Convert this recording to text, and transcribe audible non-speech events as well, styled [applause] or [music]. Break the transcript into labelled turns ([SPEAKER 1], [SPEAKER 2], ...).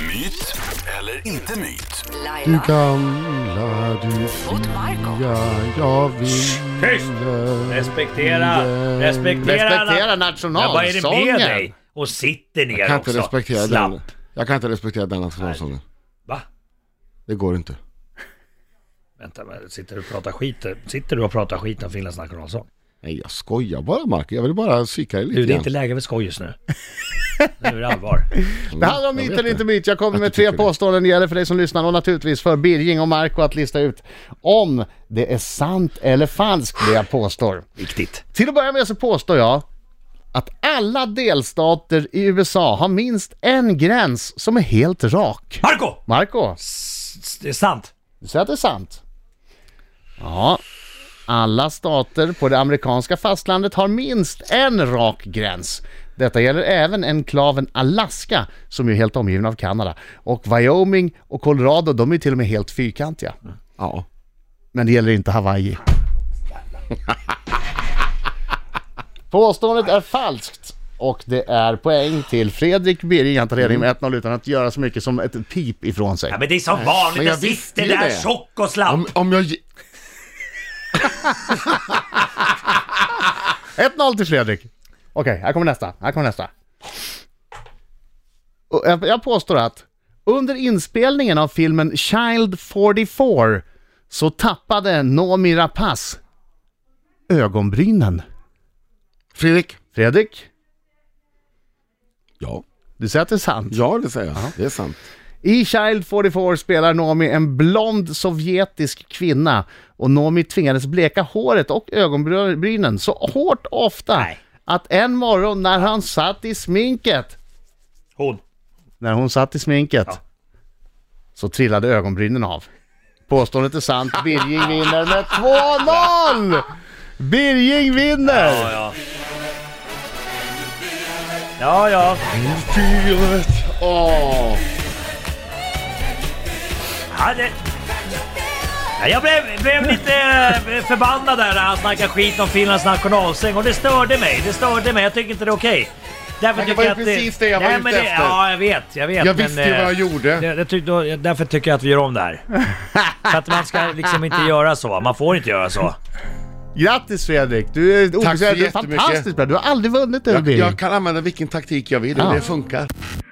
[SPEAKER 1] Myt eller inte myt?
[SPEAKER 2] Du
[SPEAKER 3] Laila
[SPEAKER 2] gamla, du
[SPEAKER 3] mot Marco.
[SPEAKER 2] fria, jag vinner.
[SPEAKER 4] Tyst! Respektera!
[SPEAKER 2] Mm.
[SPEAKER 4] Respektera!
[SPEAKER 5] Respektera
[SPEAKER 4] Ja, Vad är det
[SPEAKER 5] nationalsången!
[SPEAKER 4] med dig? Och sitter ner
[SPEAKER 5] Jag kan
[SPEAKER 4] också.
[SPEAKER 5] inte respektera
[SPEAKER 4] Slapp.
[SPEAKER 5] den. Jag kan inte respektera den nationalsången.
[SPEAKER 4] Va?
[SPEAKER 5] Det går inte.
[SPEAKER 4] Vänta, men sitter du och pratar skit? Sitter du och pratar skit om Finlands nationalsång?
[SPEAKER 5] Nej, jag skojar bara Mark. Jag vill bara psyka dig lite
[SPEAKER 4] Du, det är
[SPEAKER 5] grann.
[SPEAKER 4] inte läge för skoj just nu. Nu är det allvar.
[SPEAKER 5] Det handlar om
[SPEAKER 2] Jag
[SPEAKER 5] myt
[SPEAKER 2] vet
[SPEAKER 5] eller
[SPEAKER 2] det.
[SPEAKER 5] inte myt. Jag kommer
[SPEAKER 2] Att
[SPEAKER 5] med
[SPEAKER 2] du
[SPEAKER 5] tre
[SPEAKER 2] tycker det.
[SPEAKER 5] påståenden. Det gäller för dig som lyssnar och naturligtvis för Birging och Marco att lista ut om det är sant eller falskt det jag påstår.
[SPEAKER 4] Viktigt.
[SPEAKER 5] Till att börja med så påstår jag att alla delstater i USA har minst en gräns som är helt rak.
[SPEAKER 4] Marco!
[SPEAKER 5] Marco,
[SPEAKER 4] S- Det är sant.
[SPEAKER 5] du säger att det är sant? Ja. Alla stater på det amerikanska fastlandet har minst en rak gräns. Detta gäller även enklaven Alaska som ju är helt omgiven av Kanada. Och Wyoming och Colorado, de är ju till och med helt fyrkantiga.
[SPEAKER 2] Ja.
[SPEAKER 5] Men det gäller inte Hawaii. [laughs] Påståendet är falskt. Och det är poäng till Fredrik Birging. Han tar ledning med 1-0 utan att göra så mycket som ett pip ifrån sig.
[SPEAKER 4] Ja, men det är som vanligt.
[SPEAKER 2] Men jag
[SPEAKER 4] Jag sitter
[SPEAKER 2] visste ju
[SPEAKER 4] där
[SPEAKER 2] det.
[SPEAKER 4] tjock och slapp.
[SPEAKER 2] Om, om jag... ge-
[SPEAKER 5] 1-0 till Fredrik. Okej, här kommer nästa. Här kommer nästa. Och Jag jag påstår att under inspelningen av filmen Child 44 så tappade Noomi Rapace ögonbrynen.
[SPEAKER 2] Fredrik?
[SPEAKER 5] Fredrik,
[SPEAKER 2] Ja.
[SPEAKER 5] du säger att det är sant?
[SPEAKER 2] Ja, det säger jag. Det är sant.
[SPEAKER 5] I Child 44 spelar Noomi en blond sovjetisk kvinna och Noomi tvingades bleka håret och ögonbrynen så hårt ofta
[SPEAKER 4] Nej.
[SPEAKER 5] att en morgon när han satt i sminket,
[SPEAKER 4] Hon.
[SPEAKER 5] när hon satt i sminket,
[SPEAKER 4] Ja.
[SPEAKER 5] så trillade ögonbrynen av. Påståendet är sant, Birging vinner med 2-0! Birging vinner!
[SPEAKER 4] Ja, ja. Ja, ja.
[SPEAKER 5] Åh.
[SPEAKER 4] Ja, det... Ja, jag blev, blev lite eh, förbannad där när han snackade skit om Finlands nationalsång och det störde mig. Det störde mig. Jag tycker inte det är okej. Därför
[SPEAKER 2] Men det
[SPEAKER 4] tycker
[SPEAKER 2] var ju
[SPEAKER 4] jag att
[SPEAKER 2] precis det jag var
[SPEAKER 4] Nej,
[SPEAKER 2] ute
[SPEAKER 4] men det...
[SPEAKER 2] efter.
[SPEAKER 4] Ja, jag vet. Jag vet.
[SPEAKER 2] Jag
[SPEAKER 4] men,
[SPEAKER 2] visste ju
[SPEAKER 4] eh,
[SPEAKER 2] vad jag gjorde.
[SPEAKER 4] Det, det tyck, då, därför tycker jag att vi gör om
[SPEAKER 2] [laughs]
[SPEAKER 4] det här. Så att man ska liksom inte göra så. Man får inte göra så.
[SPEAKER 5] Grattis Fredrik! Du är,
[SPEAKER 2] Tack så
[SPEAKER 5] du är
[SPEAKER 2] jättemycket.
[SPEAKER 5] fantastiskt bra, du har aldrig vunnit över
[SPEAKER 2] Jag,
[SPEAKER 5] Birging.
[SPEAKER 2] jag kan använda vilken taktik jag vill och
[SPEAKER 5] Ja.
[SPEAKER 2] det funkar.